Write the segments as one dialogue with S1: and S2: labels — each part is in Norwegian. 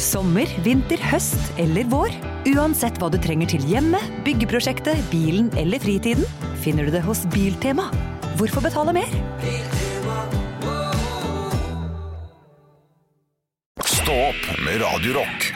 S1: Sommer, vinter, høst eller vår. Uansett hva du trenger til hjemmet, byggeprosjektet, bilen eller fritiden, finner du det hos Biltema. Hvorfor betale mer?
S2: Stå opp med Radio Rock.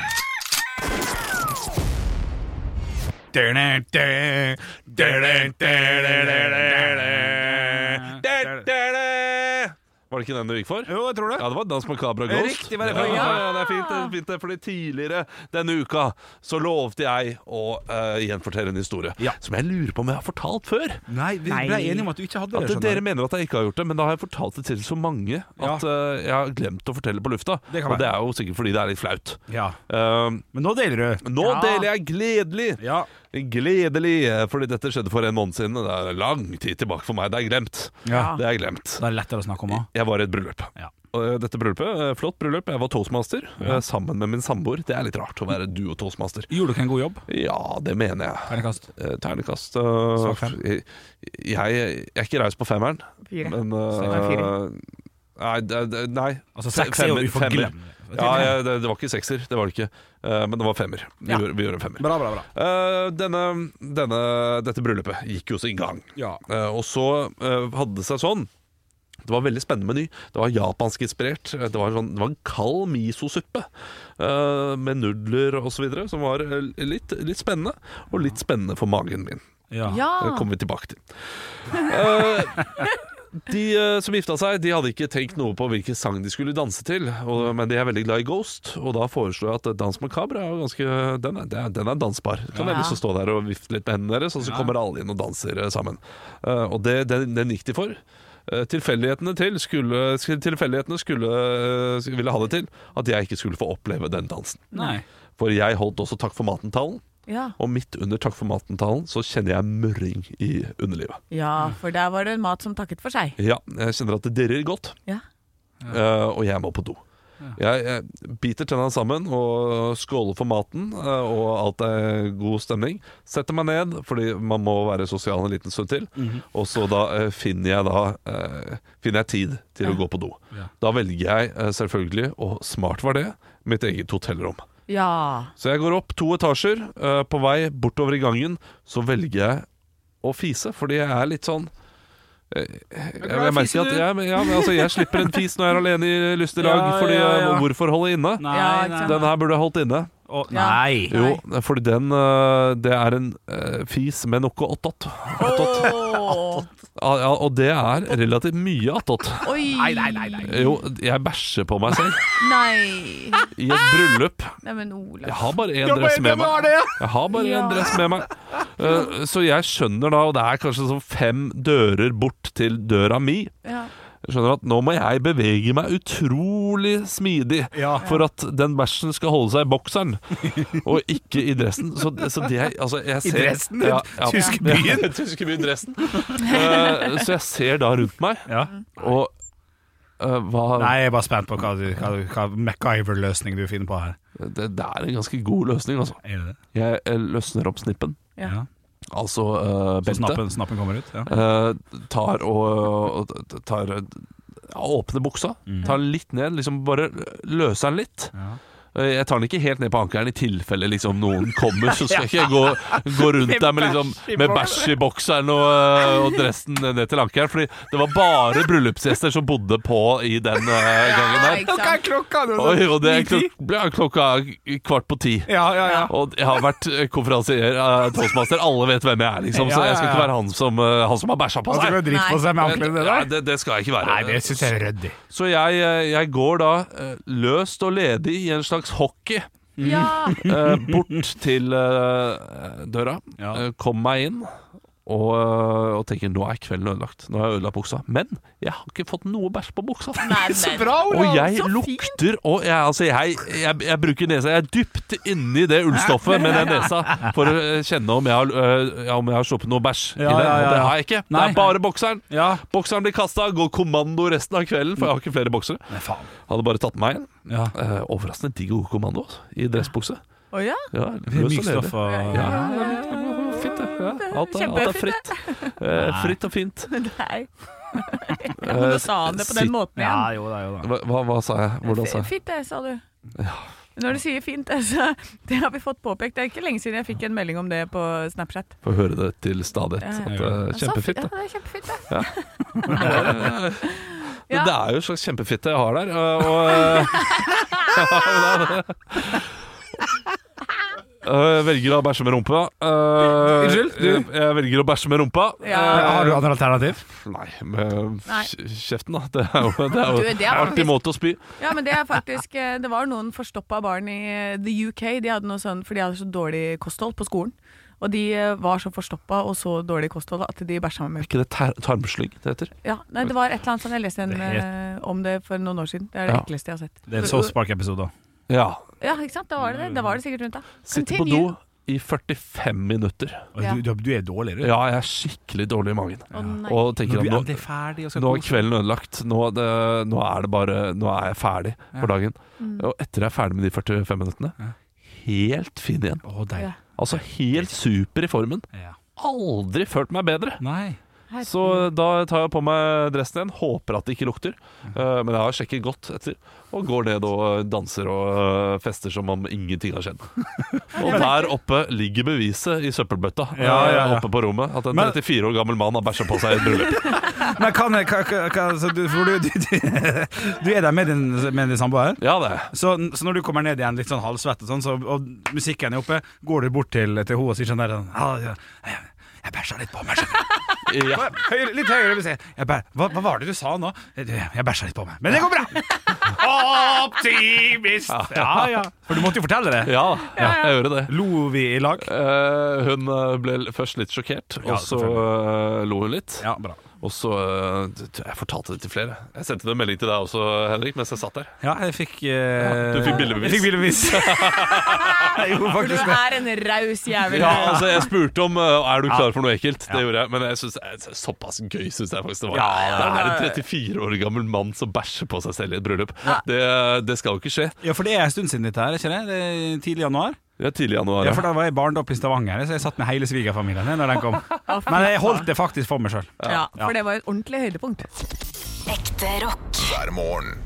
S2: Var det ikke den du gikk for?
S3: Jo, jeg tror det.
S2: Ja, det var Dans Macabre og Ghost.
S3: Riktig, var det
S2: ja,
S3: for-
S2: ja, ja, det er fint, det er fint det, fordi tidligere denne uka så lovte jeg å eh, gjenfortelle en historie
S3: Ja.
S2: som jeg lurer på om jeg har fortalt før.
S3: Nei, vi ble enige om at du ikke hadde
S2: At
S3: det.
S2: dere
S3: skjønner
S2: mener at jeg ikke har gjort det, men da har jeg fortalt det til så mange at eh, jeg har glemt å fortelle på lufta.
S3: Det kan
S2: og
S3: være.
S2: det er jo sikkert fordi det er litt flaut.
S3: du. Ja.
S2: Um,
S3: Men nå deler du.
S2: nå deler jeg gledelig
S3: Ja.
S2: Gledelig, eh, fordi dette skjedde for en måned siden. og Det er lang tid tilbake for meg. Det er glemt.
S3: ja.
S2: Det er glemt.
S3: Da er det lettere å snakke om òg.
S2: Jeg var i et bryllup.
S3: Ja.
S2: Og eh, dette bryllupet, eh, Flott bryllup. Jeg var toastmaster eh, sammen med min samboer. Det er litt rart å være duo toastmaster.
S3: Gjorde dere en god jobb?
S2: Ja, det mener jeg.
S3: Ternekast.
S2: Eh, Ternekast eh,
S3: Svak fem.
S2: jeg, jeg, jeg er ikke raus på femmeren,
S4: Fire.
S2: men eh,
S4: Nei, fire.
S2: Nei, det- det- nei.
S3: Altså, seks er jo
S2: Femmer-
S3: uforglemmelig.
S2: femmer. Ja, ja, det, det var ikke sekser, det var det ikke. Eh, men det var femmer. Vi,
S3: Ja.
S2: gjorde, vi gjorde en femmer.
S3: Bra, bra, bra.
S2: Eh, denne, denne, dette bryllupet gikk jo sin gang.
S3: Ja.
S2: Eh, og så eh, hadde det seg sånn det var en veldig spennende meny. Det var japansk inspirert. Det var en, sånn, det var en kald miso-suppe eh, med nudler osv. som var eh, litt, litt spennende, og litt spennende for magen min.
S3: Ja.
S2: Det
S1: Ah.
S4: Ja.
S2: kommer vi tilbake til. Eh, de eh, som gifta seg, de hadde ikke tenkt noe på hvilken sang de skulle danse til, og, men de er veldig glad i Ghost, og da foreslår jeg at eh, Dans Macabre er jo ganske Den er, det er- den er dansbar. Kan dere lyst til å stå der og vifte litt med hendene deres, og så kommer alle inn og danser eh, sammen. Eh, og det, den, den gikk de for. Eh, Tilfeldighetene til skulle, sk- tilfeldighetene skulle eh, ville ha det til at jeg ikke skulle få oppleve den dansen.
S3: Nei.
S2: For jeg holdt også Takk for maten-talen,
S4: Ja.
S2: og midt under Takk for maten-talen så kjenner jeg mørring i underlivet.
S4: ja, for der var det en mat som takket for seg.
S2: Ja, jeg kjenner at det dirrer godt,
S4: Ja.
S2: eh, og jeg må på do. Jeg, jeg biter tennene sammen og skåler for maten, eh, og alt er god stemning. Setter meg ned, fordi man må være sosial en liten stund til. Og så da eh, finner jeg da eh, finner jeg tid til å gå på do.
S3: Ja.
S2: Da velger jeg eh, selvfølgelig, og smart var det, mitt eget hotellrom.
S4: Ja.
S2: Så jeg går opp to etasjer. eh, på vei bortover i gangen så velger jeg å fise, fordi jeg er litt sånn eh, jeg,
S3: glad i
S2: jeg merker
S3: fise,
S2: at
S3: du.
S2: jeg, ja, men altså, jeg slipper en fis når jeg er alene i lystig lag,
S3: Ja,
S2: fordi
S3: ja,
S2: eh,
S3: ja.
S2: hvorfor holde inne?
S3: Nei,
S4: Ja, ikke
S3: nei.
S4: sant.
S2: Den her burde jeg holdt inne.
S3: Å, nei.
S2: Jo, fordi den eh, Det er en eh, fis med noe attåt. Attåt.
S4: Åh.
S2: Ja, ja, og det er relativt mye attåt.
S4: Oi.
S3: Nei, nei, nei, nei.
S2: Jo, jeg bæsjer på meg selv
S4: Nei.
S2: i et bryllup.
S4: Nei, men Olav.
S2: Jeg har bare én dress med meg. Jeg har bare én
S4: Ja.
S2: dress med meg. Eh, Så jeg skjønner da, og det er kanskje sånn fem dører bort til døra mi
S4: Ja.
S2: Jeg skjønner at nå må jeg bevege meg utrolig smidig
S3: Ja.
S2: for at den bæsjen skal holde seg i bokseren, og ikke i dressen. Så, så det er altså jeg ser,
S3: dressen? Tyske
S2: byen? Tyske byen dressen. Eh, så jeg ser da rundt meg,
S3: Ja.
S2: og eh, hva
S3: Nei, jeg er bare spent på hva, du- hva, du- hva MacGyver-løsning du finner på her.
S2: det, det er en ganske god løsning, altså.
S3: Er det det?
S2: Jeg eh, løsner opp snippen,
S4: Ja.
S3: Ja.
S2: altså uh,
S3: Så
S2: beltet.
S3: snappen, snappen kommer ut? Ja.
S2: Eh, tar og, og tar, ja, åpner buksa,
S3: Mhm.
S2: tar den litt ned, liksom bare løser den litt.
S3: Ja.
S2: Eh, Jeg tar den ikke helt ned på ankelen i tilfelle liksom, noen kommer, så skal jeg ikke gå, gå rundt der med, liksom, med bæsj i bokseren og, eh, og dressen ned til ankelen. Fordi det var bare bryllupsgjester som bodde på i den eh, gangen der.
S4: ikke sant?
S3: klokka nå?
S2: Oi, og det klok ble klokka kvart på ti.
S3: Ja, ja, ja.
S2: Og jeg har vært eh, konferansier, eh, toastmaster, alle vet hvem jeg er, liksom. Så
S3: Ja, ja,
S2: jeg skal ikke
S3: ja.
S2: være han som, eh, han som har bæsja på
S3: Han
S2: seg.
S3: skal jo drite på seg med
S2: Men,
S3: anklene
S2: Nei,
S3: der.
S2: det, det skal jeg ikke være.
S3: Nei, det syns jeg er ryddig.
S2: Så jeg, jeg går da eh, løst og ledig i en slags hockey
S4: Ja.
S2: eh, bort til eh, døra.
S3: Ja.
S2: Eh, Kom meg inn. Og, eh, og tenker nå er kvelden ødelagt. Nå har jeg ødelagt buksa. Men jeg har ikke fått noe bæsj på buksa.
S4: Nei, men.
S2: Og jeg
S4: så fint.
S2: lukter og jeg, altså jeg, jeg, jeg bruker nesa. Jeg er dypt inni det ullstoffet med den nesa for å eh, kjenne om jeg har, eh, ja, om jeg har sluppet noe bæsj i
S3: Ja,
S2: den.
S3: ja,
S2: Og
S3: ja,
S2: det
S3: ja.
S2: har jeg ikke. Det
S3: Nei.
S2: er bare bokseren.
S3: Ja.
S2: Bokseren blir kasta, går kommando resten av kvelden, for jeg har ikke flere boksere.
S3: Nei, faen.
S2: Hadde bare tatt meg en.
S3: Ja.
S2: Eh, overraskende digg og god kommando altså, i dressbukse.
S4: Å ja.
S2: Ja, løs og ledig.
S3: Mykstoff og
S2: Ja, ja, det er litt- fint, det. Ja, alt, er, alt er fritt. Eh, fritt og fint.
S4: Nei.
S2: Eh,
S4: Nå sa han det på den måten
S3: Ja,
S4: igjen.
S3: jo da, jo da.
S2: Hva, hva, hva sa jeg? Hvordan sa jeg?
S4: Fitte, sa du. Når du sier fint, altså, det har vi fått påpekt. Det er ikke lenge siden jeg fikk en melding om det på Snapchat.
S2: Får høre det til stadighet.
S4: Ja, ja.
S2: at det er Kjempefint.
S4: Ja,
S2: da.
S4: det er kjempefint, det.
S2: Men
S4: Ja.
S2: det er jo en slags kjempefitte jeg har der. øh, Og, øh, Øh, velger å bæsje med rumpa. Øh,
S3: Unnskyld, du?
S2: jeg- Jeg velger å bæsje med rumpa. Eh,
S4: Ja.
S3: Har du andre alternativ?
S2: Nei, med
S4: Nei.
S2: kj- kjeften, da. Det er jo, det er jo
S4: Du, det er
S2: en artig
S4: faktisk-
S2: måte å spy.
S4: Ja, men det er faktisk eh, Det var noen forstoppa barn i eh, the UK. De hadde noe sånn, for de hadde så dårlig kosthold på skolen. Og de eh, var så forstoppa og så dårlig kosthold at de bæsja med
S2: Er
S4: melk.
S2: ikke det tar tarmslyng det heter?
S4: Ja, nei, det var et eller annet sånn jeg leste en,
S3: Det er
S4: eh, om det for noen år siden. Det er det
S2: Ja.
S4: ekleste jeg har sett.
S3: Det er en Soulspark-episode.
S2: Ja.
S4: Ja, ikke sant? Da var det det. Da var det sikkert rundt da.
S2: Sitte på
S4: Continue.
S2: do i 45 minutter.
S4: Ja.
S3: Du, du, du er dårlig, du.
S2: Ja, jeg er skikkelig dårlig i magen.
S4: Å nei.
S2: Og tenker
S3: Når
S2: at
S3: du
S2: nå,
S3: endelig er ferdig og skal
S2: nå er
S3: kose
S2: kvelden ødelagt. Nå, det, nå er det bare Nå er jeg ferdig
S3: Ja.
S2: for dagen.
S4: Mm.
S2: Og etter jeg er ferdig med de 45
S3: Ja.
S2: minuttene Helt fin igjen.
S3: Å, deilig.
S4: Ja.
S2: Altså helt super i formen.
S3: Ja.
S2: Aldri følt meg bedre.
S3: Nei.
S4: Herregud.
S2: Så da tar jeg på meg dressen igjen. Håper at det ikke lukter.
S3: Mm.
S2: Eh, men jeg har sjekket godt etter. Og går ned og danser og eh, fester som om ingenting har skjedd. Og der oppe ligger beviset i søppelbøtta
S3: Ja, ja,
S2: eh,
S3: ja.
S2: oppe på rommet. At en
S3: Men-
S2: 34 år gammel mann har bæsja på seg i et bryllup.
S3: Men kan jeg hva- hva- hva- så du, for du, du, du, du er der med din, med din samboer?
S2: Ja, det. er jeg.
S3: Så, så når du kommer ned igjen litt sånn halvsvett og sånn, så, og musikken er oppe, går du bort til, til henne og sier sånn der sånn, «Ja, ja, jeg, jeg bæsja litt på meg. skjønner du?»
S2: Ja.
S3: Høyre, litt høyere vil si. Jeg bæ, hva, hva var det du sa nå? Jeg, jeg bæsja litt på meg. Men det går bra! Optimist! Ja, ja. For du måtte jo fortelle det.
S2: ja, ja, jeg gjør det.
S3: Lo vi i lag?
S2: Eh, hun eh, ble l- først litt sjokkert,
S3: Ja,
S2: og så eh, lo hun litt.
S3: Ja, bra.
S2: Og så eh, d- d- Jeg fortalte det til flere. Jeg sendte en melding til deg også, Henrik, mens jeg satt der.
S3: Ja, jeg fikk eh,
S2: du fikk bildebevis.
S3: Jeg fikk bildebevis. jeg gjorde
S4: Du
S3: faktisk det.
S4: er en raus jævel.
S2: Ja, altså Jeg spurte om uh, Er du klar for noe ekkelt. Det
S3: Ja.
S2: gjorde jeg, men jeg synes, jeg- såpass gøy syns jeg faktisk det var.
S3: Ja,
S2: det er en 34 år gammel mann som bæsjer på seg selv i et bryllup. Det, det skal jo ikke skje.
S3: Ja, for det er en stund siden dette her, ikke det? det er tidlig januar.
S2: Det er tidlig i januar.
S3: Ja,
S2: Ja,
S3: for da var jeg barndopp i Stavanger, så jeg satt med hele svigerfamilien min når den kom. Men jeg holdt det faktisk for meg sjøl.
S4: Ja, for det var jo et ordentlig høydepunkt.
S1: Ekte rock.
S5: hver morgen.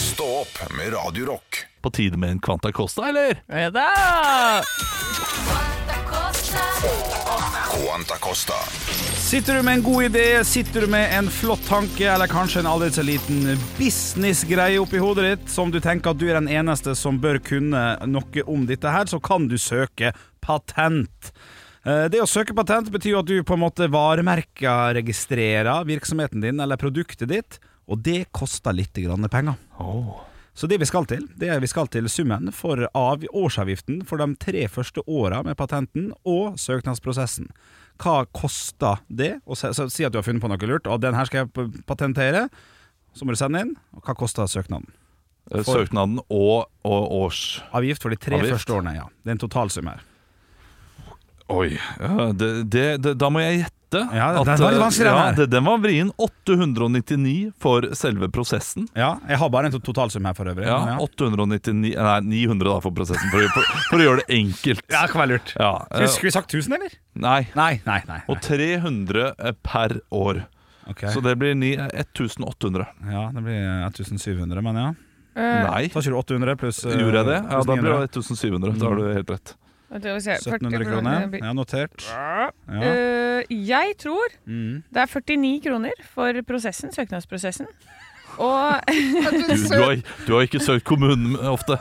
S5: Stå opp med Radio Rock.
S2: På tide med en Quanta Costa, eller?
S4: Ja da!
S5: Quanta Costa.
S3: Sitter du med en god idé, sitter du med en flott tanke, eller kanskje en aldri så liten businessgreie oppi hodet ditt, som du tenker at du er den eneste som bør kunne noe om dette her, så kan du søke patent. Eh, Det å søke patent betyr jo at du på en måte varemerkeregistrerer virksomheten din eller produktet ditt, og det koster litt grann penger. Så det vi skal til, det er vi skal til summen for av årsavgiften for de tre første åra med patenten og søknadsprosessen. Hva koster det? Og se, så, si at du har funnet på noe lurt, og den her skal jeg p- patentere. Så må du sende inn. Og hva koster søknaden?
S2: Eh,
S3: For-
S2: Søknaden og, og års
S3: Avgift for de tre
S2: Avgift.
S3: første årene, ja. Det er en totalsum her.
S2: Oi. Ja, det, det, det, da må jeg gjette.
S3: Ja, den var litt
S2: eh,
S3: vanskelig, den
S2: ja,
S3: her.
S2: det- den var vrien. 899 for selve prosessen.
S3: Ja, jeg har bare en to- totalsum her for øvrig.
S2: Ja,
S3: men
S2: 899 Nei, 900 da for prosessen, for, å- for, for å gjøre det enkelt.
S3: ja det kan være lurt.
S2: Ja,
S3: Skulle,
S2: eh,
S3: skulle vi sagt 1000, eller?
S2: nei.
S3: Nei, nei, nei.
S2: Og 300 per år.
S3: Ok.
S2: Så det blir ni- 1800.
S3: Ja, det blir 1700, men ja.
S2: Nei,
S3: Så kjører du 800 pluss eh,
S2: gjorde jeg det? Ja,
S3: pluss
S2: da blir
S3: 900.
S2: det 1700. Da har du helt rett.
S3: 1700 kroner. Ja, notert. Ja.
S6: jeg tror
S3: Mm.
S6: det er 49 kroner for prosessen, søknadsprosessen. Og
S2: Du, du, har, du har ikke søkt kommunen ofte.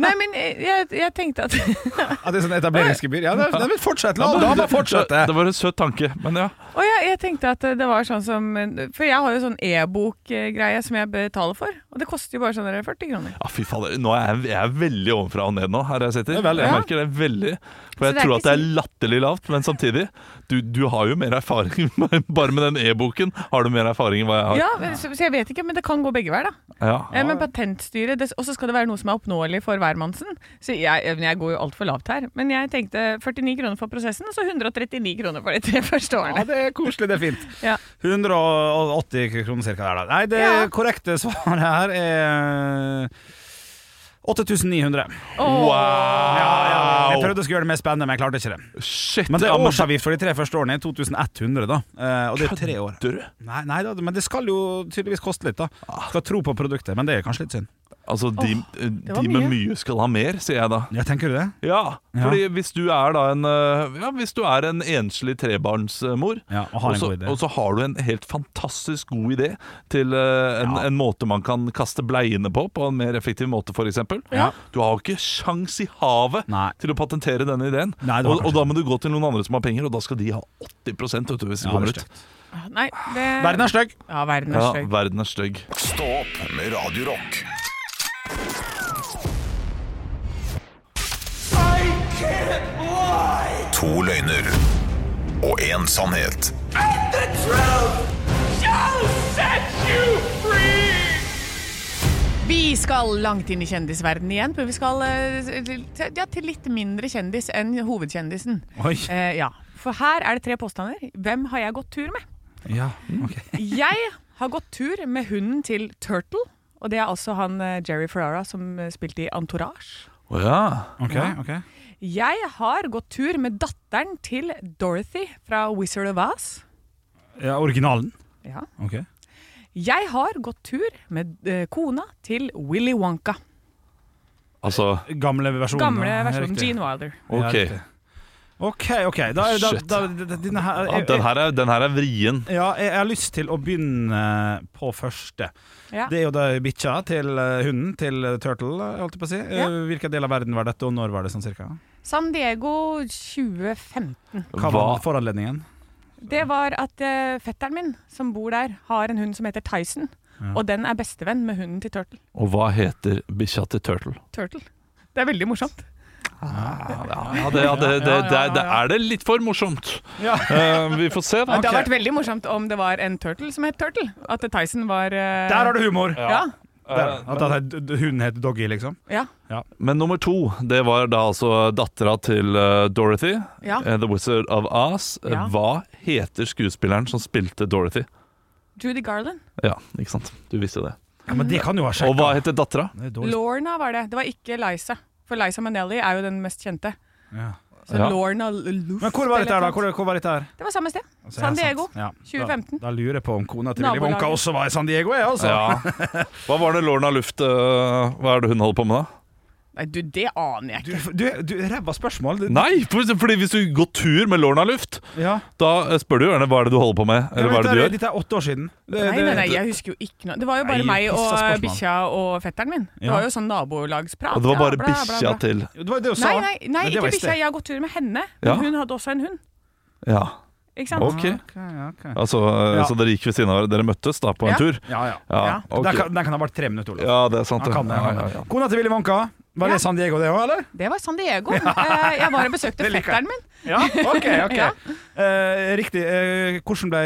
S6: Nei, men jeg, jeg tenkte at
S3: Ja, det er sånn etableringsgebyr. Ja, det, det vil fortsette. La
S2: Ja,
S3: dama
S2: men
S3: fortsette.
S2: Det, det var en søt tanke, men ja.
S6: Å ja, jeg tenkte at det var sånn som For jeg har jo sånn e-bok-greie som jeg betaler for. Og det koster jo bare sånn der 40 kroner.
S2: ja Ah, fy fader, nå er jeg, jeg er veldig ovenfra og ned nå, her jeg sitter.
S3: Det er veldig,
S2: jeg
S3: ja.
S2: merker det veldig. For
S6: Så
S2: jeg
S6: det er
S2: tror
S6: ikke
S2: at det er latterlig lavt, men samtidig Du, du har jo mer erfaring med- bare med den e-boken. Har du mer erfaring enn hva jeg har?
S6: Ja, men- så, så jeg vet ikke, men det kan gå begge veier, da.
S2: Ja.
S6: Eh, Men patentstyret det- Og så skal det være noe som er oppnåelig for hvermannsen. Så jeg, jeg- men jeg går jo altfor lavt her. Men jeg tenkte 49 kroner for prosessen, og så 139 kroner for de tre første
S3: Ja,
S6: årene.
S3: det er koselig. Det er fint.
S6: Ja.
S3: 180 kroner cirka hver dag. Nei, det
S6: Ja.
S3: korrekte svaret her er 8900. Jeg
S2: Wow!
S3: prøvde å skulle gjøre det mer spennende, men jeg klarte ikke det.
S2: Shit!
S3: Men det
S2: ja,
S3: er årsavgift for de tre første årene. er 2100, da. Eh, Og det er tre år.
S2: Dør.
S3: Ah. Nei, nei da, men det skal jo tydeligvis koste litt, da. Skal tro på produktet, men det er kanskje litt synd.
S2: Altså, de,
S7: var
S2: de med
S7: mye.
S2: mye skal ha mer, sier jeg da.
S3: Ja, tenker du det?
S2: Ja,
S3: Ja.
S2: fordi hvis du er da en øh, Ja, hvis du er en enslig trebarnsmor
S3: Ja, og har en
S2: så-
S3: god idé.
S2: og så har du en helt fantastisk god idé til øh, en,
S3: Ja.
S2: en måte man kan kaste bleiene på på en mer effektiv måte, f.eks.
S3: Ja.
S2: Du har jo ikke sjans i havet
S3: Nei.
S2: til å patentere denne ideen.
S3: Nei, det var
S2: og, og
S3: kanskje
S2: da må du gå til noen andre som har penger, og da skal de ha 80 vet du, hvis det
S3: Ja,
S2: kommer
S3: det er
S2: ut.
S3: stygt.
S4: Nei, det
S3: Verden er stygg.
S4: Ja, verden er
S2: Ja,
S4: stygg.
S2: verden er stygg.
S5: Stå opp med Radio Rock. To løgner og én sannhet.
S4: Vi skal langt inn i kjendisverdenen igjen, men vi skal eh, til, ja, til litt mindre kjendis enn hovedkjendisen.
S3: Oi.
S4: Eh, ja. For her er det tre påstander. Hvem har jeg gått tur med?
S3: Ja, ok.
S4: Jeg har gått tur med hunden til Turtle. Og det er altså han eh, Jerry Ferrara som eh, spilte i Entourage.
S2: Å ja.
S3: Ok, ok.
S4: Jeg har gått tur med datteren til Dorothy fra Wizard of Oz.
S3: Ja, originalen.
S4: Ja.
S3: Ok.
S4: Jeg har gått tur med eh, kona til Willy Wonka.
S2: Altså
S3: Gamle versjonen.
S4: Gamle
S3: ja,
S4: versjonen.
S3: riktig.
S4: Gene Wilder.
S3: Ja,
S2: OK.
S3: riktig. Ok, ok. Da, er- da,
S2: Shit.
S3: da, da, denne her,
S2: Ja, den, her er, den her er vrien.
S3: Ja, jeg, jeg har lyst til å begynne på første.
S4: Ja.
S3: Det er jo da bikkja til eh, hunden til eh, Turtle, eh, holdt jeg på å si. Eh,
S4: Ja.
S3: Hvilken del av verden var dette, og når var det sånn cirka?
S4: San Diego 2015.
S3: Hva
S2: Hva?
S3: var foranledningen?
S4: Det var at eh, fetteren min, som bor der, har en hund som heter Tyson. Og den er bestevenn med hunden til Turtle.
S2: Og hva heter bikkja til Turtle?
S4: Turtle. Det er veldig morsomt.
S2: Ja, det, ja, det, det, det, er- det er det litt for morsomt.
S3: Ja.
S2: Eh, vi får se, da.
S4: Det hadde vært veldig morsomt om det var en turtle som het Turtle. At Tyson var eh,
S3: Der har du humor!
S4: Ja.
S3: Der. At han het- d- hunden het Doggy, liksom.
S4: ja.
S2: Men nummer to, det var da altså dattera til eh, Dorothy,
S4: Ja.
S2: eh, The Wizard of Oz. Eh,
S4: Ja.
S2: Hva heter skuespilleren som spilte Dorothy?
S4: Judy Garland.
S2: Ja, ikke sant? Du visste det.
S3: Ja, men det kan jo ha
S2: Og hva
S3: sjekka.
S2: heter dattera?
S3: Det er dårlig.
S4: Lorna var det. Det var ikke Liza. For Liza Manelli er jo den mest kjente.
S3: Ja.
S4: Så
S2: Ja.
S4: Lorna Luft
S3: Men hvor var dette her, da?
S4: eller noe
S3: Hvor, hvor var dette her?
S4: sånt. Det var samme sted.
S3: Altså,
S4: San
S3: ja, sant.
S4: Diego.
S3: Ja.
S4: 2015.
S3: Da, da lurer jeg på om kona til Willy
S4: Nabolaget.
S3: Wonka også var i San Diego, jeg, altså.
S2: Ja. Hva var det Lorna Luft eh, Hva er det hun holder på med, da?
S4: Nei, du, det aner jeg ikke.
S3: Du, du, du ræva spørsmål. Du-
S2: Nei, for- fordi hvis du går tur med Lorna Luft,
S3: Ja.
S2: da eh, spør du jo gjerne hva er det du holder på med,
S3: Ja,
S2: eller hva
S3: men
S2: er det
S3: dette
S2: du gjør.
S3: Dette er åtte år siden. Det-
S4: Nei,
S3: det-
S4: nei, nei, jeg husker jo ikke noe. Det var jo bare
S3: Nei,
S4: meg og
S3: pissa spørsmål.
S4: bikkja og fetteren min. Det
S3: Ja.
S4: var jo sånn nabolagsprat.
S2: Og det var
S4: Ja,
S2: bare
S4: bla, bla,
S2: bikkja
S4: bla.
S2: til
S3: Det var jo det hun sa.
S4: Nei, nei, nei
S3: Men det
S4: ikke
S3: var i
S4: bikkja.
S3: sted.
S4: Jeg har gått tur med henne. Men
S2: Ja.
S4: hun hadde også en hund.
S2: Ja,
S4: Ikke sant?
S2: OK.
S3: Ok, ok.
S2: Altså, eh,
S3: Ja.
S2: Så dere gikk ved siden av hverandre? Dere møttes da på en
S4: Ja.
S2: tur?
S3: Ja, ja.
S2: Ja,
S4: Ja.
S2: ok.
S3: Den, kan, den kan ha vært tre minutter, Olav.
S2: ja det er sant.
S3: Han
S2: det.
S3: kan det, han
S2: Ja,
S3: kan
S2: ja, ja.
S3: det. Kona til Willy Wonka, var det
S4: Ja.
S3: San Diego det òg, eller?
S4: Det var San Diego. Eh, Jeg var og besøkte
S3: Det liker jeg.
S4: fetteren min.
S3: Ja, ok, ok.
S4: Ja.
S3: Eh, riktig. Eh, hvordan ble,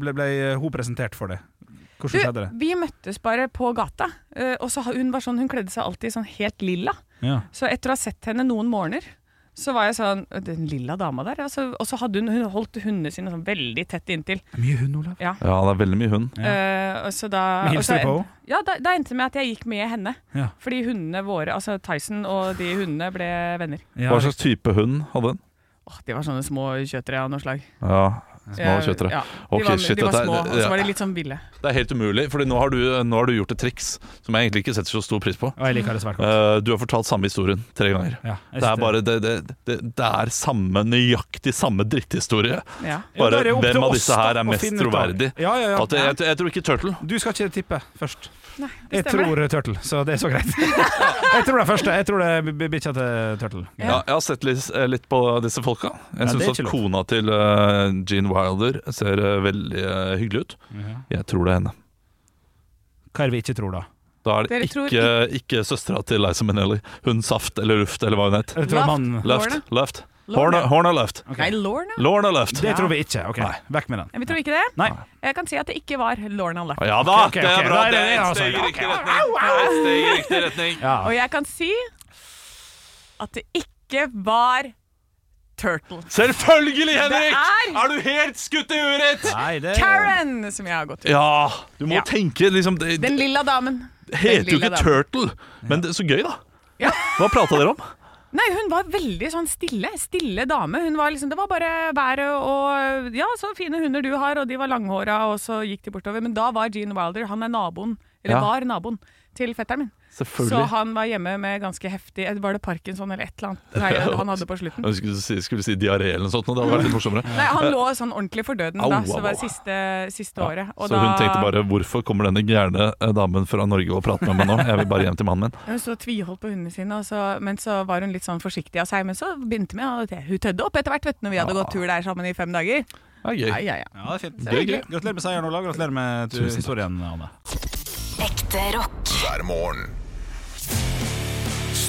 S3: ble, ble hun presentert for det?
S4: Du,
S3: Hvordan skjedde det?
S4: vi møttes bare på gata. eh, Og så ha- hun var sånn, hun kledde seg alltid sånn helt lilla.
S3: Ja.
S4: Så etter å ha sett henne noen morgener, så var jeg sånn Den lilla dama der. Altså, og så hadde hun, hun holdt hundene sine sånn veldig tett inntil.
S3: Mye hund, Olav.
S2: Ja, det er veldig mye hund.
S4: Eh, og så da,
S3: Men
S4: og
S3: hilste
S4: så
S3: du på henne?
S4: Ja, da, da endte det med at jeg gikk med henne.
S3: Ja.
S4: Fordi hundene våre, altså Tyson og de hundene, ble venner.
S3: Ja,
S2: Hva slags type hund hadde den?
S4: Åh, De var sånne små kjøtere av noe slag.
S2: Ja, små
S4: Eh,
S2: kjøttere.
S4: Ja, de
S2: Ok,
S4: var,
S2: shit,
S4: de var
S2: dette er-
S4: små, og så
S2: ja.
S4: var de litt sånn ville.
S2: Det er helt umulig, for nå, har du- nå har du gjort et triks som jeg egentlig ikke setter så stor pris på.
S3: Og jeg liker det svært godt.
S2: Eh, du har fortalt samme historien tre ganger.
S3: Ja, jeg
S2: Det er
S3: synes
S2: bare det, det, det, det er samme, nøyaktig samme dritthistorie.
S4: Ja.
S3: Ja, da
S2: Bare
S3: er det opp til
S2: hvem av
S3: oss,
S2: disse her
S3: da,
S2: er
S3: å
S2: mest
S3: finne ut av.
S2: troverdig.
S3: Ja, ja, ja.
S2: At jeg, jeg, jeg tror ikke Turtle.
S3: Du skal ikke tippe først.
S4: Nei, det
S3: Jeg
S4: stemmer.
S3: tror Turtle, så det er så greit. jeg tror det er første. Jeg tror det er b- bikkja til Turtle.
S2: Ja, jeg har sett litt, eh, litt på disse folka. Jeg
S3: Ja, det er
S2: syns
S3: ikke
S2: at
S3: lov.
S2: kona til eh, Gene Wilder ser eh, veldig eh, hyggelig ut. Jeg tror det er henne.
S3: Hva er det vi ikke tror, da?
S2: Da er det
S4: Dere tror
S2: ikke, ikke søstera til Liza Minnelli. Hun Saft eller Luft eller hva hun het.
S3: Jeg tror
S4: Laft.
S3: mannen
S2: Left.
S4: Lorna.
S2: Left.
S4: Lorna.
S2: Horna, Horna left.
S4: Nei, Lorna?
S2: Lorna left.
S3: Det tror vi ikke. Ok, Vekk med den.
S4: Nei, Vi tror ikke det.
S3: Nei.
S4: Jeg kan si at det ikke var Lorna Lapp.
S2: Ja da,
S3: Ok, ok,
S2: det
S3: ok.
S2: er bra.
S3: Nei,
S2: Det
S3: det
S2: er
S3: er
S2: et steg i
S3: altså-
S2: riktig retning. Det er et steg i riktig retning.
S3: Ja.
S4: Og jeg kan si at det ikke var Turtle.
S2: Selvfølgelig, Henrik!
S4: Det er-
S2: Er du helt skutt i huet ditt?
S3: Nei, det
S4: Karen, som jeg har gått til.
S2: Ja, du må
S4: Ja.
S2: tenke liksom Det
S4: Den lilla damen.
S2: det heter jo
S4: lilla
S2: ikke
S4: damen.
S2: Turtle, men det, så gøy, da.
S4: Ja.
S2: Hva prata dere om?
S4: Nei, hun var veldig sånn stille, stille dame. Hun var liksom, det var bare været og Ja, så fine hunder du har, og de var langhåra, og så gikk de bortover. Men da var Gene Wilder, han er naboen, eller
S2: Ja.
S4: var naboen, til fetteren min. Så
S2: Selvfølgelig.
S4: han var hjemme med ganske heftig eh, Var det Parkinson eller et eller annet Nei, han hadde på slutten?
S2: Jeg skulle si, skulle si diaré eller noe sånt, men det hadde vært litt morsommere.
S4: Nei, han lå sånn ordentlig for døden
S2: Au,
S4: da,
S2: au,
S4: så det var
S2: au.
S4: siste, siste året. Og
S2: Så hun
S4: da-
S2: tenkte bare 'hvorfor kommer denne gærne eh, damen fra Norge og prater med meg nå', jeg vil bare hjem til mannen min.
S4: Hun så tviholdt på hundene sine, og så, men så var hun litt sånn forsiktig av seg. Men så begynte vi, og det- hun tødde opp etter hvert vet, du, når vi hadde gått tur der sammen i fem dager.
S2: Det er gøy.
S4: Ja, ja, ja.
S3: Ja, det er fint.
S2: Det er gøy.
S3: Gratulerer med seieren, Ola. Gratulerer med
S2: Tusen takk.
S3: historien, Anne.
S8: Ekte rock.
S5: hver morgen.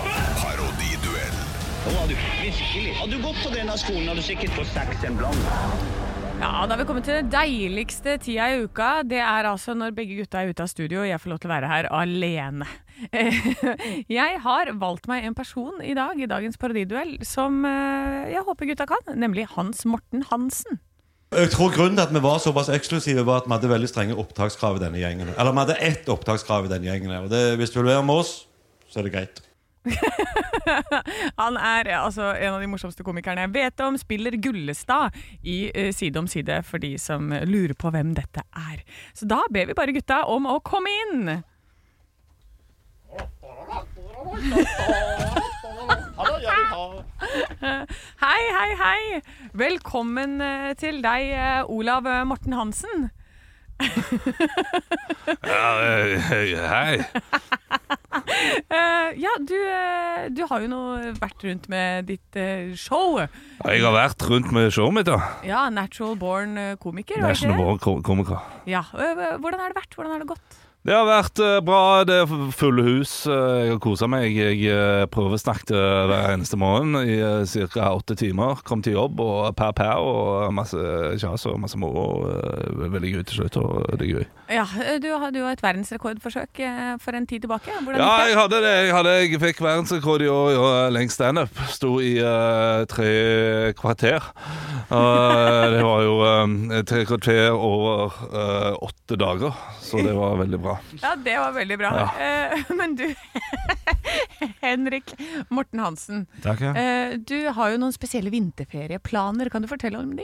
S5: Parodiduell
S4: Ja, Da har vi kommet til den deiligste tida i uka. Det er altså når begge gutta er ute av studio og jeg får lov til å være her alene. jeg har valgt meg en person i dag i dagens parodiduell som eh, jeg håper gutta kan, nemlig Hans Morten Hansen.
S9: Jeg tror grunnen til at vi var såpass eksklusive, var at vi hadde veldig strenge opptakskrav i denne gjengen. Eller vi hadde ett opptakskrav i denne gjengen. her, Og det, hvis du vil være med oss, så er det greit.
S4: Han er eh, altså en av de morsomste komikerne jeg vet om. Spiller Gullestad i eh, Side om side, for de som eh, lurer på hvem dette er. Så da ber vi bare gutta om å komme inn. Hei, hei, hei. Velkommen eh, til deg, eh, Olav eh, Morten Hansen.
S2: Hei.
S4: Eh, Ja, du, eh, du har jo nå vært rundt med ditt eh, show.
S2: Jeg har vært rundt med showet mitt, da.
S4: Ja, Natural Born eh, Komiker. var det ikke
S2: National
S4: det?
S2: Born Kom- Komiker.
S4: Ja, eh, Hvordan har det vært? Hvordan har det gått?
S2: Det har vært eh, bra. Det er fulle hus. Eh, Jeg har kosa meg. Jeg eh, prøvesnakket eh, hver eneste morgen i ca. åtte timer. Kom til jobb og per per og masse kjas og masse moro. Eh, Veldig gøy til slutt, og det er gøy.
S4: Ja, Du hadde jo et verdensrekordforsøk eh, for en tid tilbake. Hvordan
S2: Ja,
S4: gikk det?
S2: jeg hadde det. Jeg, hadde, jeg fikk verdensrekord i å gjøre lengst standup. Sto i eh, tre kvarter. Eh, det var jo eh, tre kvarter over eh, åtte dager, så det var veldig bra.
S4: Ja, det var veldig bra. Eh, Men du, Henrik Morten Hansen.
S3: Takk, ja.
S4: eh, Du har jo noen spesielle vinterferieplaner. Kan du fortelle om de?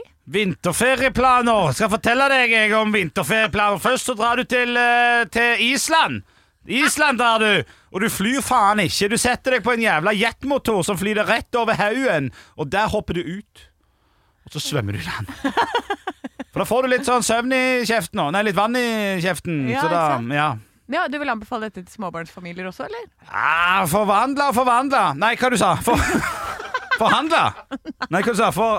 S3: Vinterferieplaner! Skal fortelle deg jeg om vinterferieplaner. Først så drar du til, eh, til Island. Island drar du, og du flyr faen ikke. Du setter deg på en jævla jetmotor som flyr deg rett over haugen, og der hopper du ut. Og så svømmer du i land. For da får du litt sånn søvn i kjeften òg. Nei, litt vann i kjeften.
S4: Ja,
S3: så da,
S4: ikke sant?
S3: ja.
S4: Ja, Du vil anbefale dette til småbarnsfamilier også, eller?
S3: Ah, forvandla og forvandla. Nei, hva du sa For, Forhandla? Nei, hva du sa For,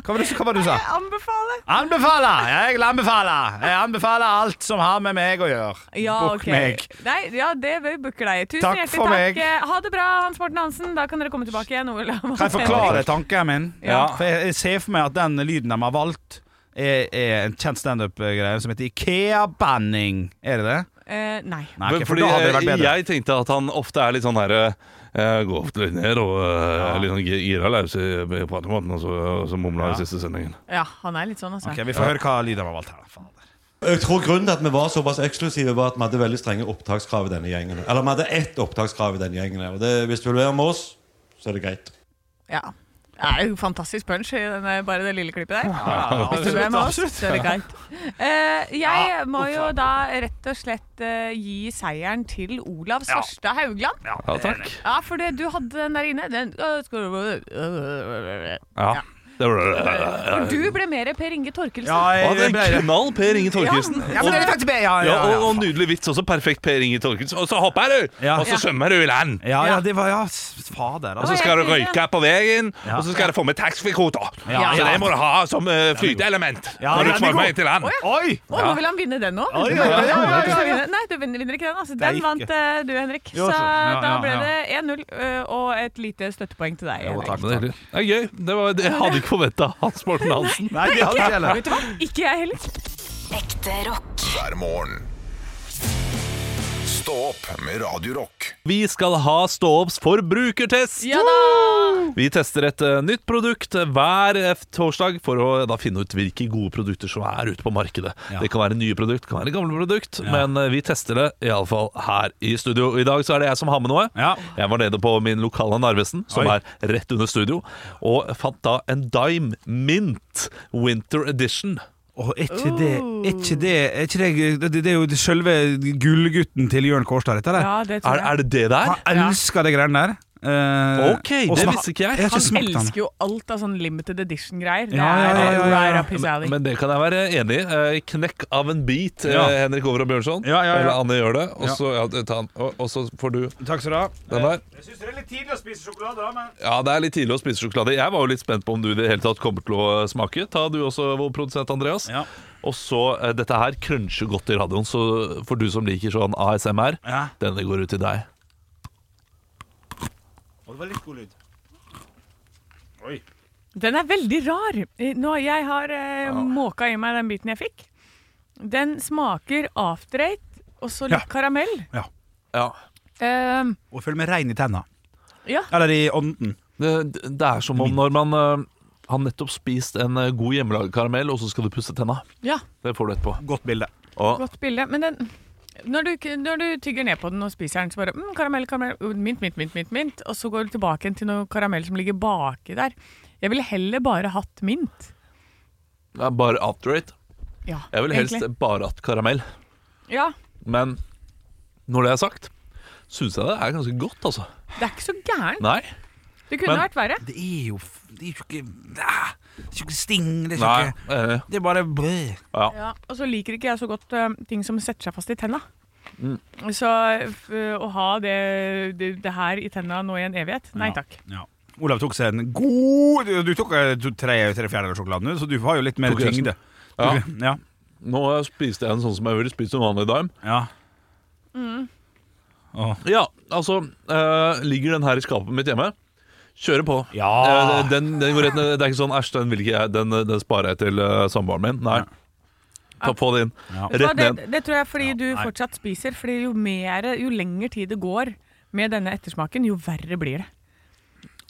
S3: hva var det hva var det du sa?
S4: Anbefale!
S3: Anbefale! Jeg vil anbefale. Jeg anbefaler alt som har med meg å gjøre.
S4: Ja,
S3: Bukk
S4: ok.
S3: meg.
S4: Nei, ja, det vil booke deg. Tusen
S3: Takk
S4: hjertelig
S3: for meg.
S4: takk. Eh, Ha det bra, Hans Morten Hansen. Da kan dere komme tilbake igjen. Olav.
S3: Kan jeg forklare tanken min?
S2: Ja.
S3: For jeg, jeg ser for meg at den lyden de har valgt, er, er en kjent standup-greie som heter Ikea-banning. Er det det?
S4: Eh, nei.
S3: Nei, ok,
S2: Men
S3: for da hadde det vært bedre.
S2: Jeg tenkte at han ofte er litt sånn herre Gå ofte litt ned og eh, litt sånn gi- gira løs i i pratemåten, og så, og så mumla i siste sendingen.
S4: Ja, han er litt sånn, altså.
S3: Ok, Vi får høre hva lyd de har valgt her. da. Faen.
S9: Jeg tror grunnen til at vi var såpass eksklusive, var at vi hadde veldig strenge opptakskrav i denne gjengen. Eller vi hadde ett opptakskrav i denne gjengen. her, Og det, hvis du vil være med oss, så er det greit.
S4: Ja. Det er jo fantastisk punch i denne, bare det lille klippet der. Hvis
S3: absolutt,
S4: du er med oss,
S3: absolutt.
S4: så er det greit. Eh, jeg må jo da rett og slett eh, gi seieren til Olav Svarstad Haugland. Ja.
S2: Ja, takk.
S4: for det, du hadde den der inne. Den, øh, skal du- øh, øh, øh, øh.
S2: Ja. var
S4: For du ble mer Per Inge Torkelsen.
S3: Ja, jeg,
S2: det
S3: ble-
S2: en knall Per Inge Torkelsen.
S3: Ja, men det er faktisk bedre. Ja,
S2: Ja,
S3: ja,
S2: og,
S3: ja.
S2: og nydelig vits også. Perfekt Per Inge Torkelsen. Og så hopper du,
S3: Ja.
S2: og så svømmer du i land.
S3: Ja, ja, det var Ja, s- fader.
S2: Og så
S3: Altså,
S2: skal du røyke på veien, og så skal du få med taxfree-kvoter.
S3: Ja.
S2: Så det må du ha som eh, flyteelement
S3: Ja, den
S2: når du
S3: er god.
S2: svømmer til land.
S3: Oi!
S4: Å, nå vil han vinne den nå.
S3: Oi, oi, oi, oi, oi.
S4: Nei, du vinner, vinner ikke den. Altså,
S3: er
S4: den
S3: ikke-
S4: vant eh, du, Henrik.
S3: Jo,
S4: Så
S3: så- ja,
S4: da
S3: ja,
S4: ble
S3: ja.
S4: det 1-0 eh, og et lite støttepoeng til deg. Henrik.
S2: Men det er hyggelig. Det er gøy. Det, var, det jeg hadde ikke forventa Hans Morten Hansen.
S3: Nei, det hadde jeg heller.
S4: Vet du hva? Ikke jeg heller.
S8: Ekte rock.
S5: hver morgen. Stå opp med Radio Rock.
S2: Vi skal ha Ståops forbrukertest!
S4: Ja da!
S2: Vi tester et eh, nytt produkt hver eh, torsdag for å eh, da finne ut hvilke gode produkter som er ute på markedet.
S3: Ja.
S2: Det kan være nye produkt, det kan være gamle produkt, men eh, vi tester det iallfall her i studio. I dag så er det jeg som har med noe.
S3: Ja.
S2: Jeg var nede på min lokale Narvesen, som
S3: Oi.
S2: er rett under studio, og fant da en Dime Mint Winter Edition.
S3: Og er ikke det er ikke det, er ikke det, det, det er jo det selve gullgutten til Jørn Kårstad, dette der.
S4: Ja, det tror
S2: Er,
S4: jeg.
S2: er det det der?
S3: Han elsker de greiene der. Eh,
S2: Ok, det
S3: og smak-
S2: visste ikke
S3: Jeg
S2: jeg.
S3: har ikke
S4: Han
S3: smakt den.
S4: elsker jo alt av sånn limited edition-greier. Det
S3: Ja, ja,
S4: er
S3: ja, ja, ja.
S4: right up his alley.
S2: Men det kan jeg være enig i. Eh, Knekk av en bit, eh,
S3: Ja.
S2: Henrik Over og Bjørnson.
S3: Ja, ja, ja.
S2: Eller Anne gjør det. Og
S3: Ja. Eh,
S2: så, ja, ta den. Og, og så får du
S3: Takk skal du ha.
S2: den der.
S3: Jeg syns det er litt tidlig å spise sjokolade, da, men
S2: Ja, det er litt tidlig å spise sjokolade. Jeg var jo litt spent på om du i det hele tatt kommer til å eh, smake. Ta du også, vår produsent Andreas.
S3: Ja.
S2: Og så eh, dette her cruncher godt i radioen, så for du som liker sånn ASMR,
S3: Ja.
S2: denne går ut til deg.
S3: Og det var litt god lyd. Oi.
S4: Den er veldig rar. Eh, Nå, jeg har eh, måka i meg den biten jeg fikk. Den smaker after eight, og så litt
S3: Ja.
S4: karamell.
S2: Ja.
S4: Eh,
S3: Og følg med rein i tenna.
S4: Ja.
S3: Eller i ånden.
S2: Det, det er som om når man eh, har nettopp spist en eh, god hjemmelaget karamell, og så skal du pusse tenna.
S4: ja,
S2: Det får du etterpå.
S3: Godt bilde.
S2: Og
S4: godt bilde. Men den når du, ikke- når du tygger ned på den og spiser den, så bare mm, karamell, karamell, uh, mint, mint, mint, mint, mint. Og så går du tilbake igjen til noe karamell som ligger baki der. Jeg ville heller bare hatt mint.
S2: det er bare after eight.
S4: Ja,
S2: Jeg ville helst
S4: egentlig.
S2: bare hatt karamell.
S4: Ja,
S2: Men når det er sagt, syns jeg det er ganske godt, altså.
S4: det er ikke så gærent.
S2: Nei.
S4: Det kunne
S2: Men-
S4: vært verre.
S3: Det er jo f- Det er jo ikke ah, Det er jo ikke sting, det er jo
S2: Nei.
S3: ikke
S2: eh,
S3: Det er bare brød.
S4: Ja, og så liker ikke jeg så godt eh, ting som setter seg fast i tenna. Så f- eh, å ha det, det, det her i tenna nå i en evighet, nei takk.
S3: Ja. Olav tok seg en god Du, du tok eh, to- tre, tre fjerdedeler sjokolade nå, så du har jo litt mer
S2: Tok resten.
S3: tyngde.
S2: Ja.
S3: Du- ja.
S2: Nå spiste jeg en sånn som jeg ville spist en vanlig dime.
S3: Ja. Åh.
S2: Ja, altså eh, Ligger den her i skapet mitt hjemme? Kjører på.
S3: Ja.
S2: Eh, den, den går rett ned. Det er ikke sånn æsj, den, vil ikke jeg- den, den sparer jeg til eh, samboeren min. Nei. Ta på det inn.
S3: Ja.
S4: Så
S2: Rett
S4: det,
S2: ned.
S4: det tror jeg fordi
S3: Ja,
S4: du
S3: nei.
S4: fortsatt spiser. Fordi jo, mer, jo lenger tid det går med denne ettersmaken, jo verre blir det.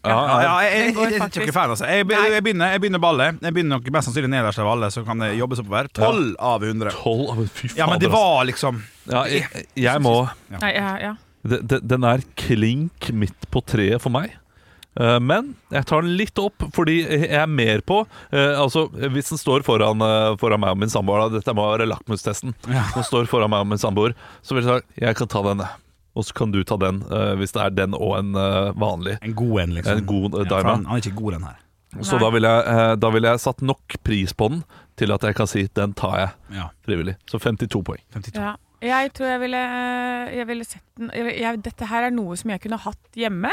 S3: Ja,
S2: Ja,
S3: ja, jeg, jeg,
S4: Den går
S3: jeg, jeg, er
S4: faktisk-
S3: ikke fan, altså. jeg, be- jeg, begynner, jeg begynner ballet. Jeg begynner nok mest sannsynlig nederst av alle, så kan det jobbes oppover. 12 av 100.
S2: Tolv av Fy fader.
S3: Ja, men det
S2: altså.
S3: var liksom
S2: ja, jeg, jeg må
S4: Nei, ja, ja.
S2: Det- det- Den er klink midt på treet for meg. Eh, Men jeg tar den litt opp, fordi jeg er mer på eh, Altså, Hvis den står foran, eh, foran meg og min samboer da, Dette må være lakmustesten. Den står foran meg og min samboer, så vil jeg si jeg kan ta den. Og så kan du ta den, eh, hvis det er den og en eh, vanlig.
S3: en god en, liksom.
S2: En god eh,
S3: Ja, for han,
S2: dime.
S3: han er ikke god, den her.
S2: Så da ville jeg, eh, da vil jeg satt nok pris på den til at jeg kan si den tar jeg
S3: Ja,
S2: frivillig. Så 52 poeng.
S3: 52.
S4: Ja. Jeg tror jeg ville, jeg ville sett den jeg, jeg, Dette her er noe som jeg kunne hatt hjemme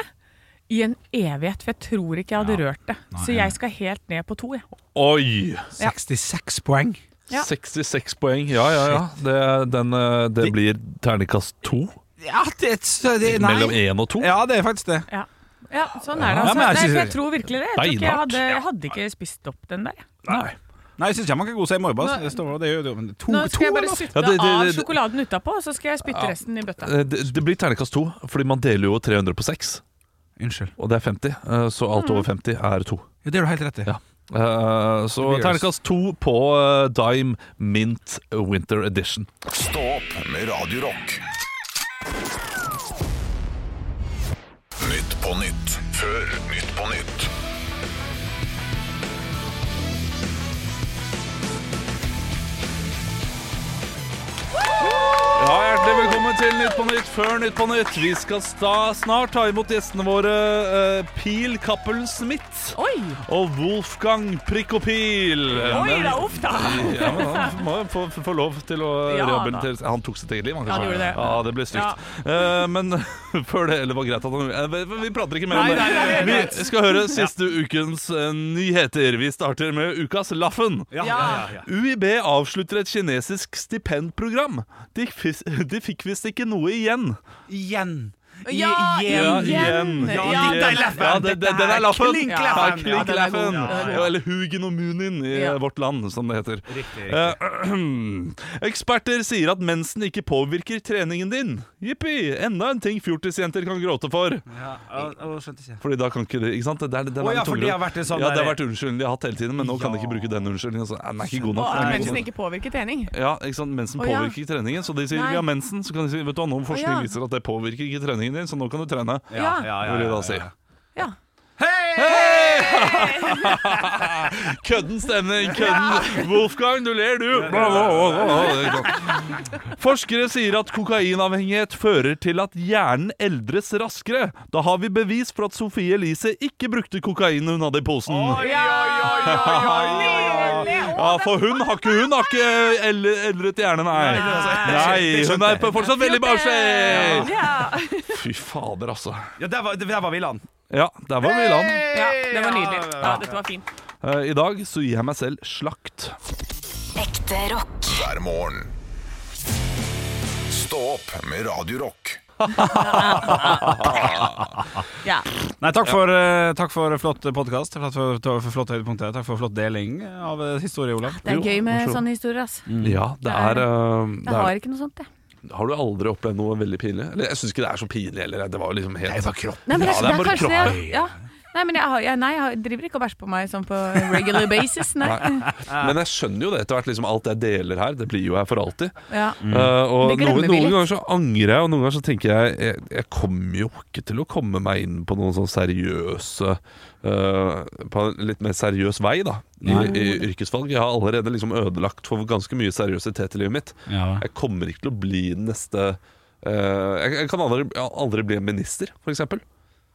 S4: i en evighet, for jeg tror ikke jeg hadde rørt det. Så jeg skal helt ned på to, jeg.
S2: Oi!
S4: Ja.
S3: 66 poeng.
S4: Ja.
S2: 66 poeng. Ja, ja, ja. Det, den, eh, det blir terningkast to.
S3: Ja, det, er- det Nei.
S2: Mellom én og to.
S3: Ja, det er faktisk det.
S4: Ja. ja, sånn er
S3: Ja,
S4: det. Altså.
S3: men jeg
S4: Nei,
S3: synes-
S4: for jeg tror virkelig det. Jeg, tror ikke jeg,
S2: Beinhardt.
S4: hadde, jeg hadde ikke spist opp den der.
S2: Nei.
S3: Nei, jeg syns ikke han var god, så jeg må jo bare
S4: Nå-
S3: stå det. Er jo, men to,
S4: Nå skal jeg
S3: to,
S4: bare
S3: eller?
S4: sutte
S2: Ja, det- det-
S4: av
S2: det-
S4: sjokoladen utapå, og så skal jeg spytte resten i bøtta.
S2: Eh, Det, det blir terningkast to, fordi man deler jo 300 på seks.
S3: Unnskyld.
S2: Og det er 50, eh, så alt over 50 er to.
S3: Ja, det har du helt rett i.
S2: Ja. Eh, Så
S3: Det blir
S2: terningkast to på eh, Dime Mint Winter Edition.
S5: Stå opp med Radio Rock. Nytt på nytt før Nytt på nytt.
S2: Ja, Hjertelig velkommen til Nytt på Nytt før Nytt på Nytt. Vi skal sta snart ta imot gjestene våre eh, Pil Cappelen Smith
S4: Oi!
S2: og Wolfgang Prikopil.
S6: Oi
S2: Men-
S6: da, uff da!
S2: Ja, men han må jo få, få lov til å
S6: Ja,
S2: rehabilitere seg. Han tok sitt eget liv, han,
S6: Ja, han
S2: kanskje.
S6: gjorde det.
S2: Ja, det ble stygt. Eh, men før det eller var greit at han eh, Vi vi prater ikke mer om
S6: Nei,
S2: det.
S6: nei, nei, nei, nei.
S2: Vi skal høre siste ukens eh, nyheter. Vi starter med ukas Laffen.
S6: Ja.
S2: UiB avslutter et kinesisk stipendprogram. De, fis- de fikk visst ikke noe igjen.
S3: Igjen. I-
S6: Ja,
S3: igjen.
S6: igjen.
S2: Ja,
S6: Ja,
S2: igjen.
S3: det er Laffen.
S2: Ja, det, det, den er laffen.
S3: Klink
S2: Ja,
S3: Laffen.
S2: klink
S3: Ja, den er god.
S2: Laffen.
S3: Ja, ja, ja.
S2: Ja, Eller Hugen og Munin i
S6: Ja.
S2: vårt land, som det heter.
S3: Riktig,
S2: Eh, Eksperter sier at mensen ikke påvirker treningen din. Jippi! Enda en ting fjortisjenter kan gråte for.
S3: Ja, å, å, skjønte ikke.
S2: Fordi da kan ikke det, ikke sant? Det er, det er
S3: Å ja,
S2: en
S3: for
S2: tunggrunn.
S3: det har vært en sånn
S2: Ja, det har
S3: der-
S2: vært unnskyldning de har hatt hele tiden, men nå kan de ikke
S3: Ja.
S2: bruke den unnskyldningen. så Den er ikke god
S6: Og at
S2: nok. Den er ikke god
S6: mensen
S2: nok.
S6: ikke påvirker trening.
S2: Ja, ikke sant?
S6: Å,
S2: Mensen
S6: ja.
S2: påvirker ikke treningen, så de sier
S6: Nei.
S2: vi har mensen. Så kan de si vet du hva, nå forskning
S6: ja.
S2: viser at det påvirker ikke treningen din, så nå kan du trene.
S6: Ja.
S2: Vil de da si.
S6: Ja.
S2: Kødden stemning, kødden. Wolfgang, du ler, du. Bla, bla, bla, bla. Det er godt. Forskere sier at kokainavhengighet fører til at hjernen eldres raskere. Da har vi bevis for at Sofie Elise ikke brukte kokain hun hadde i posen. Ja, for hun har ikke, hun har ikke el- eldret hjerne, nei. Nei, hun er på- fortsatt veldig barnslig.
S6: Ja.
S2: Fy fader, altså.
S3: Ja, der var, der var Villand.
S2: Ja, der var Milan. Eh,
S6: ja, det var nydelig. Ja, dette var fint.
S2: I dag så gir jeg meg selv slakt.
S8: Ekte rock.
S5: hver morgen. Stå opp med Radio Rock.
S6: Ja.
S3: Nei, takk for, eh, takk for flott podkast. Takk for, for flott høydepunkter. Takk for flott deling av eh, historie, Olav.
S6: Det er
S2: Jo,
S6: gøy med
S2: absolutt.
S6: sånne historier, ass.
S2: Ja, det er, eh, det
S6: Jeg
S2: er
S6: har ikke noe sånt, jeg.
S2: Har du aldri opplevd noe veldig pinlig? Eller, jeg syns ikke det er så pinlig heller. Det var jo liksom helt
S6: Nei, men det,
S2: Ja,
S6: er,
S2: det er
S6: det er
S2: bare
S6: kanskje det
S2: kroppen.
S6: jeg- ja. Nei, men jeg, har, jeg, nei, jeg har- driver ikke og bæsjer på meg sånn på regular basis, nei.
S2: Men jeg skjønner jo det etter hvert. Liksom, alt jeg deler her, det blir jo her for alltid.
S6: Ja.
S2: Eh, og
S6: Det
S2: noen,
S6: glemmer vi
S2: noen
S6: litt.
S2: ganger så angrer jeg, og noen ganger så tenker jeg jeg, jeg kommer jo ikke til å komme meg inn på noen sånn seriøse eh, På en litt mer seriøs vei, da, i, i yrkesvalg. Jeg har allerede liksom ødelagt for ganske mye seriøsitet i livet mitt.
S3: Ja.
S2: Jeg kommer ikke til å bli den neste eh, jeg, jeg kan aldri, aldri bli en minister, for eksempel.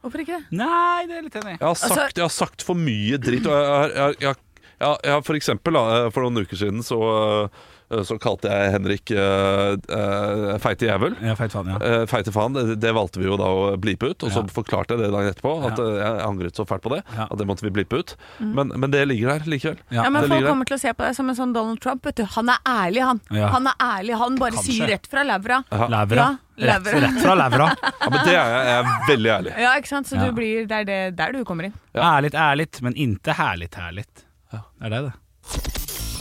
S6: Hvorfor ikke det?
S3: Nei, det er jeg litt enig i.
S2: Jeg har sagt, jeg har sagt for mye dritt. Og jeg, har- jeg, har- jeg, har- jeg, har for eksempel, da, eh, for noen uker siden så, eh, så kalte jeg Henrik eh, eh, feite jævel.
S3: Ja, feit faen, ja.
S2: Eh, feite faen, det, det valgte vi jo da å blipe ut, og så
S3: Ja.
S2: forklarte jeg det dagen etterpå. At
S3: Ja.
S2: eh, jeg angret så fælt på det,
S3: Ja.
S2: at det måtte vi blipe ut. Men, men det ligger der likevel.
S3: Ja,
S6: Ja, men
S2: det
S6: Folk
S2: ligger der.
S6: kommer til å se på deg som en sånn Donald Trump. Vet du. Han er ærlig, han.
S3: Ja.
S6: Han er ærlig, han bare sier rett fra levra. Ja, levra.
S3: Levra. Rett, rett fra levra.
S2: Ja, men det er jeg, jeg er veldig ærlig.
S6: Ja, ikke sant? Så
S3: Ja.
S6: du blir, det er det, der du kommer inn.
S3: Ærlig, ærlig, men inte herlig, herlig. Det er det, det.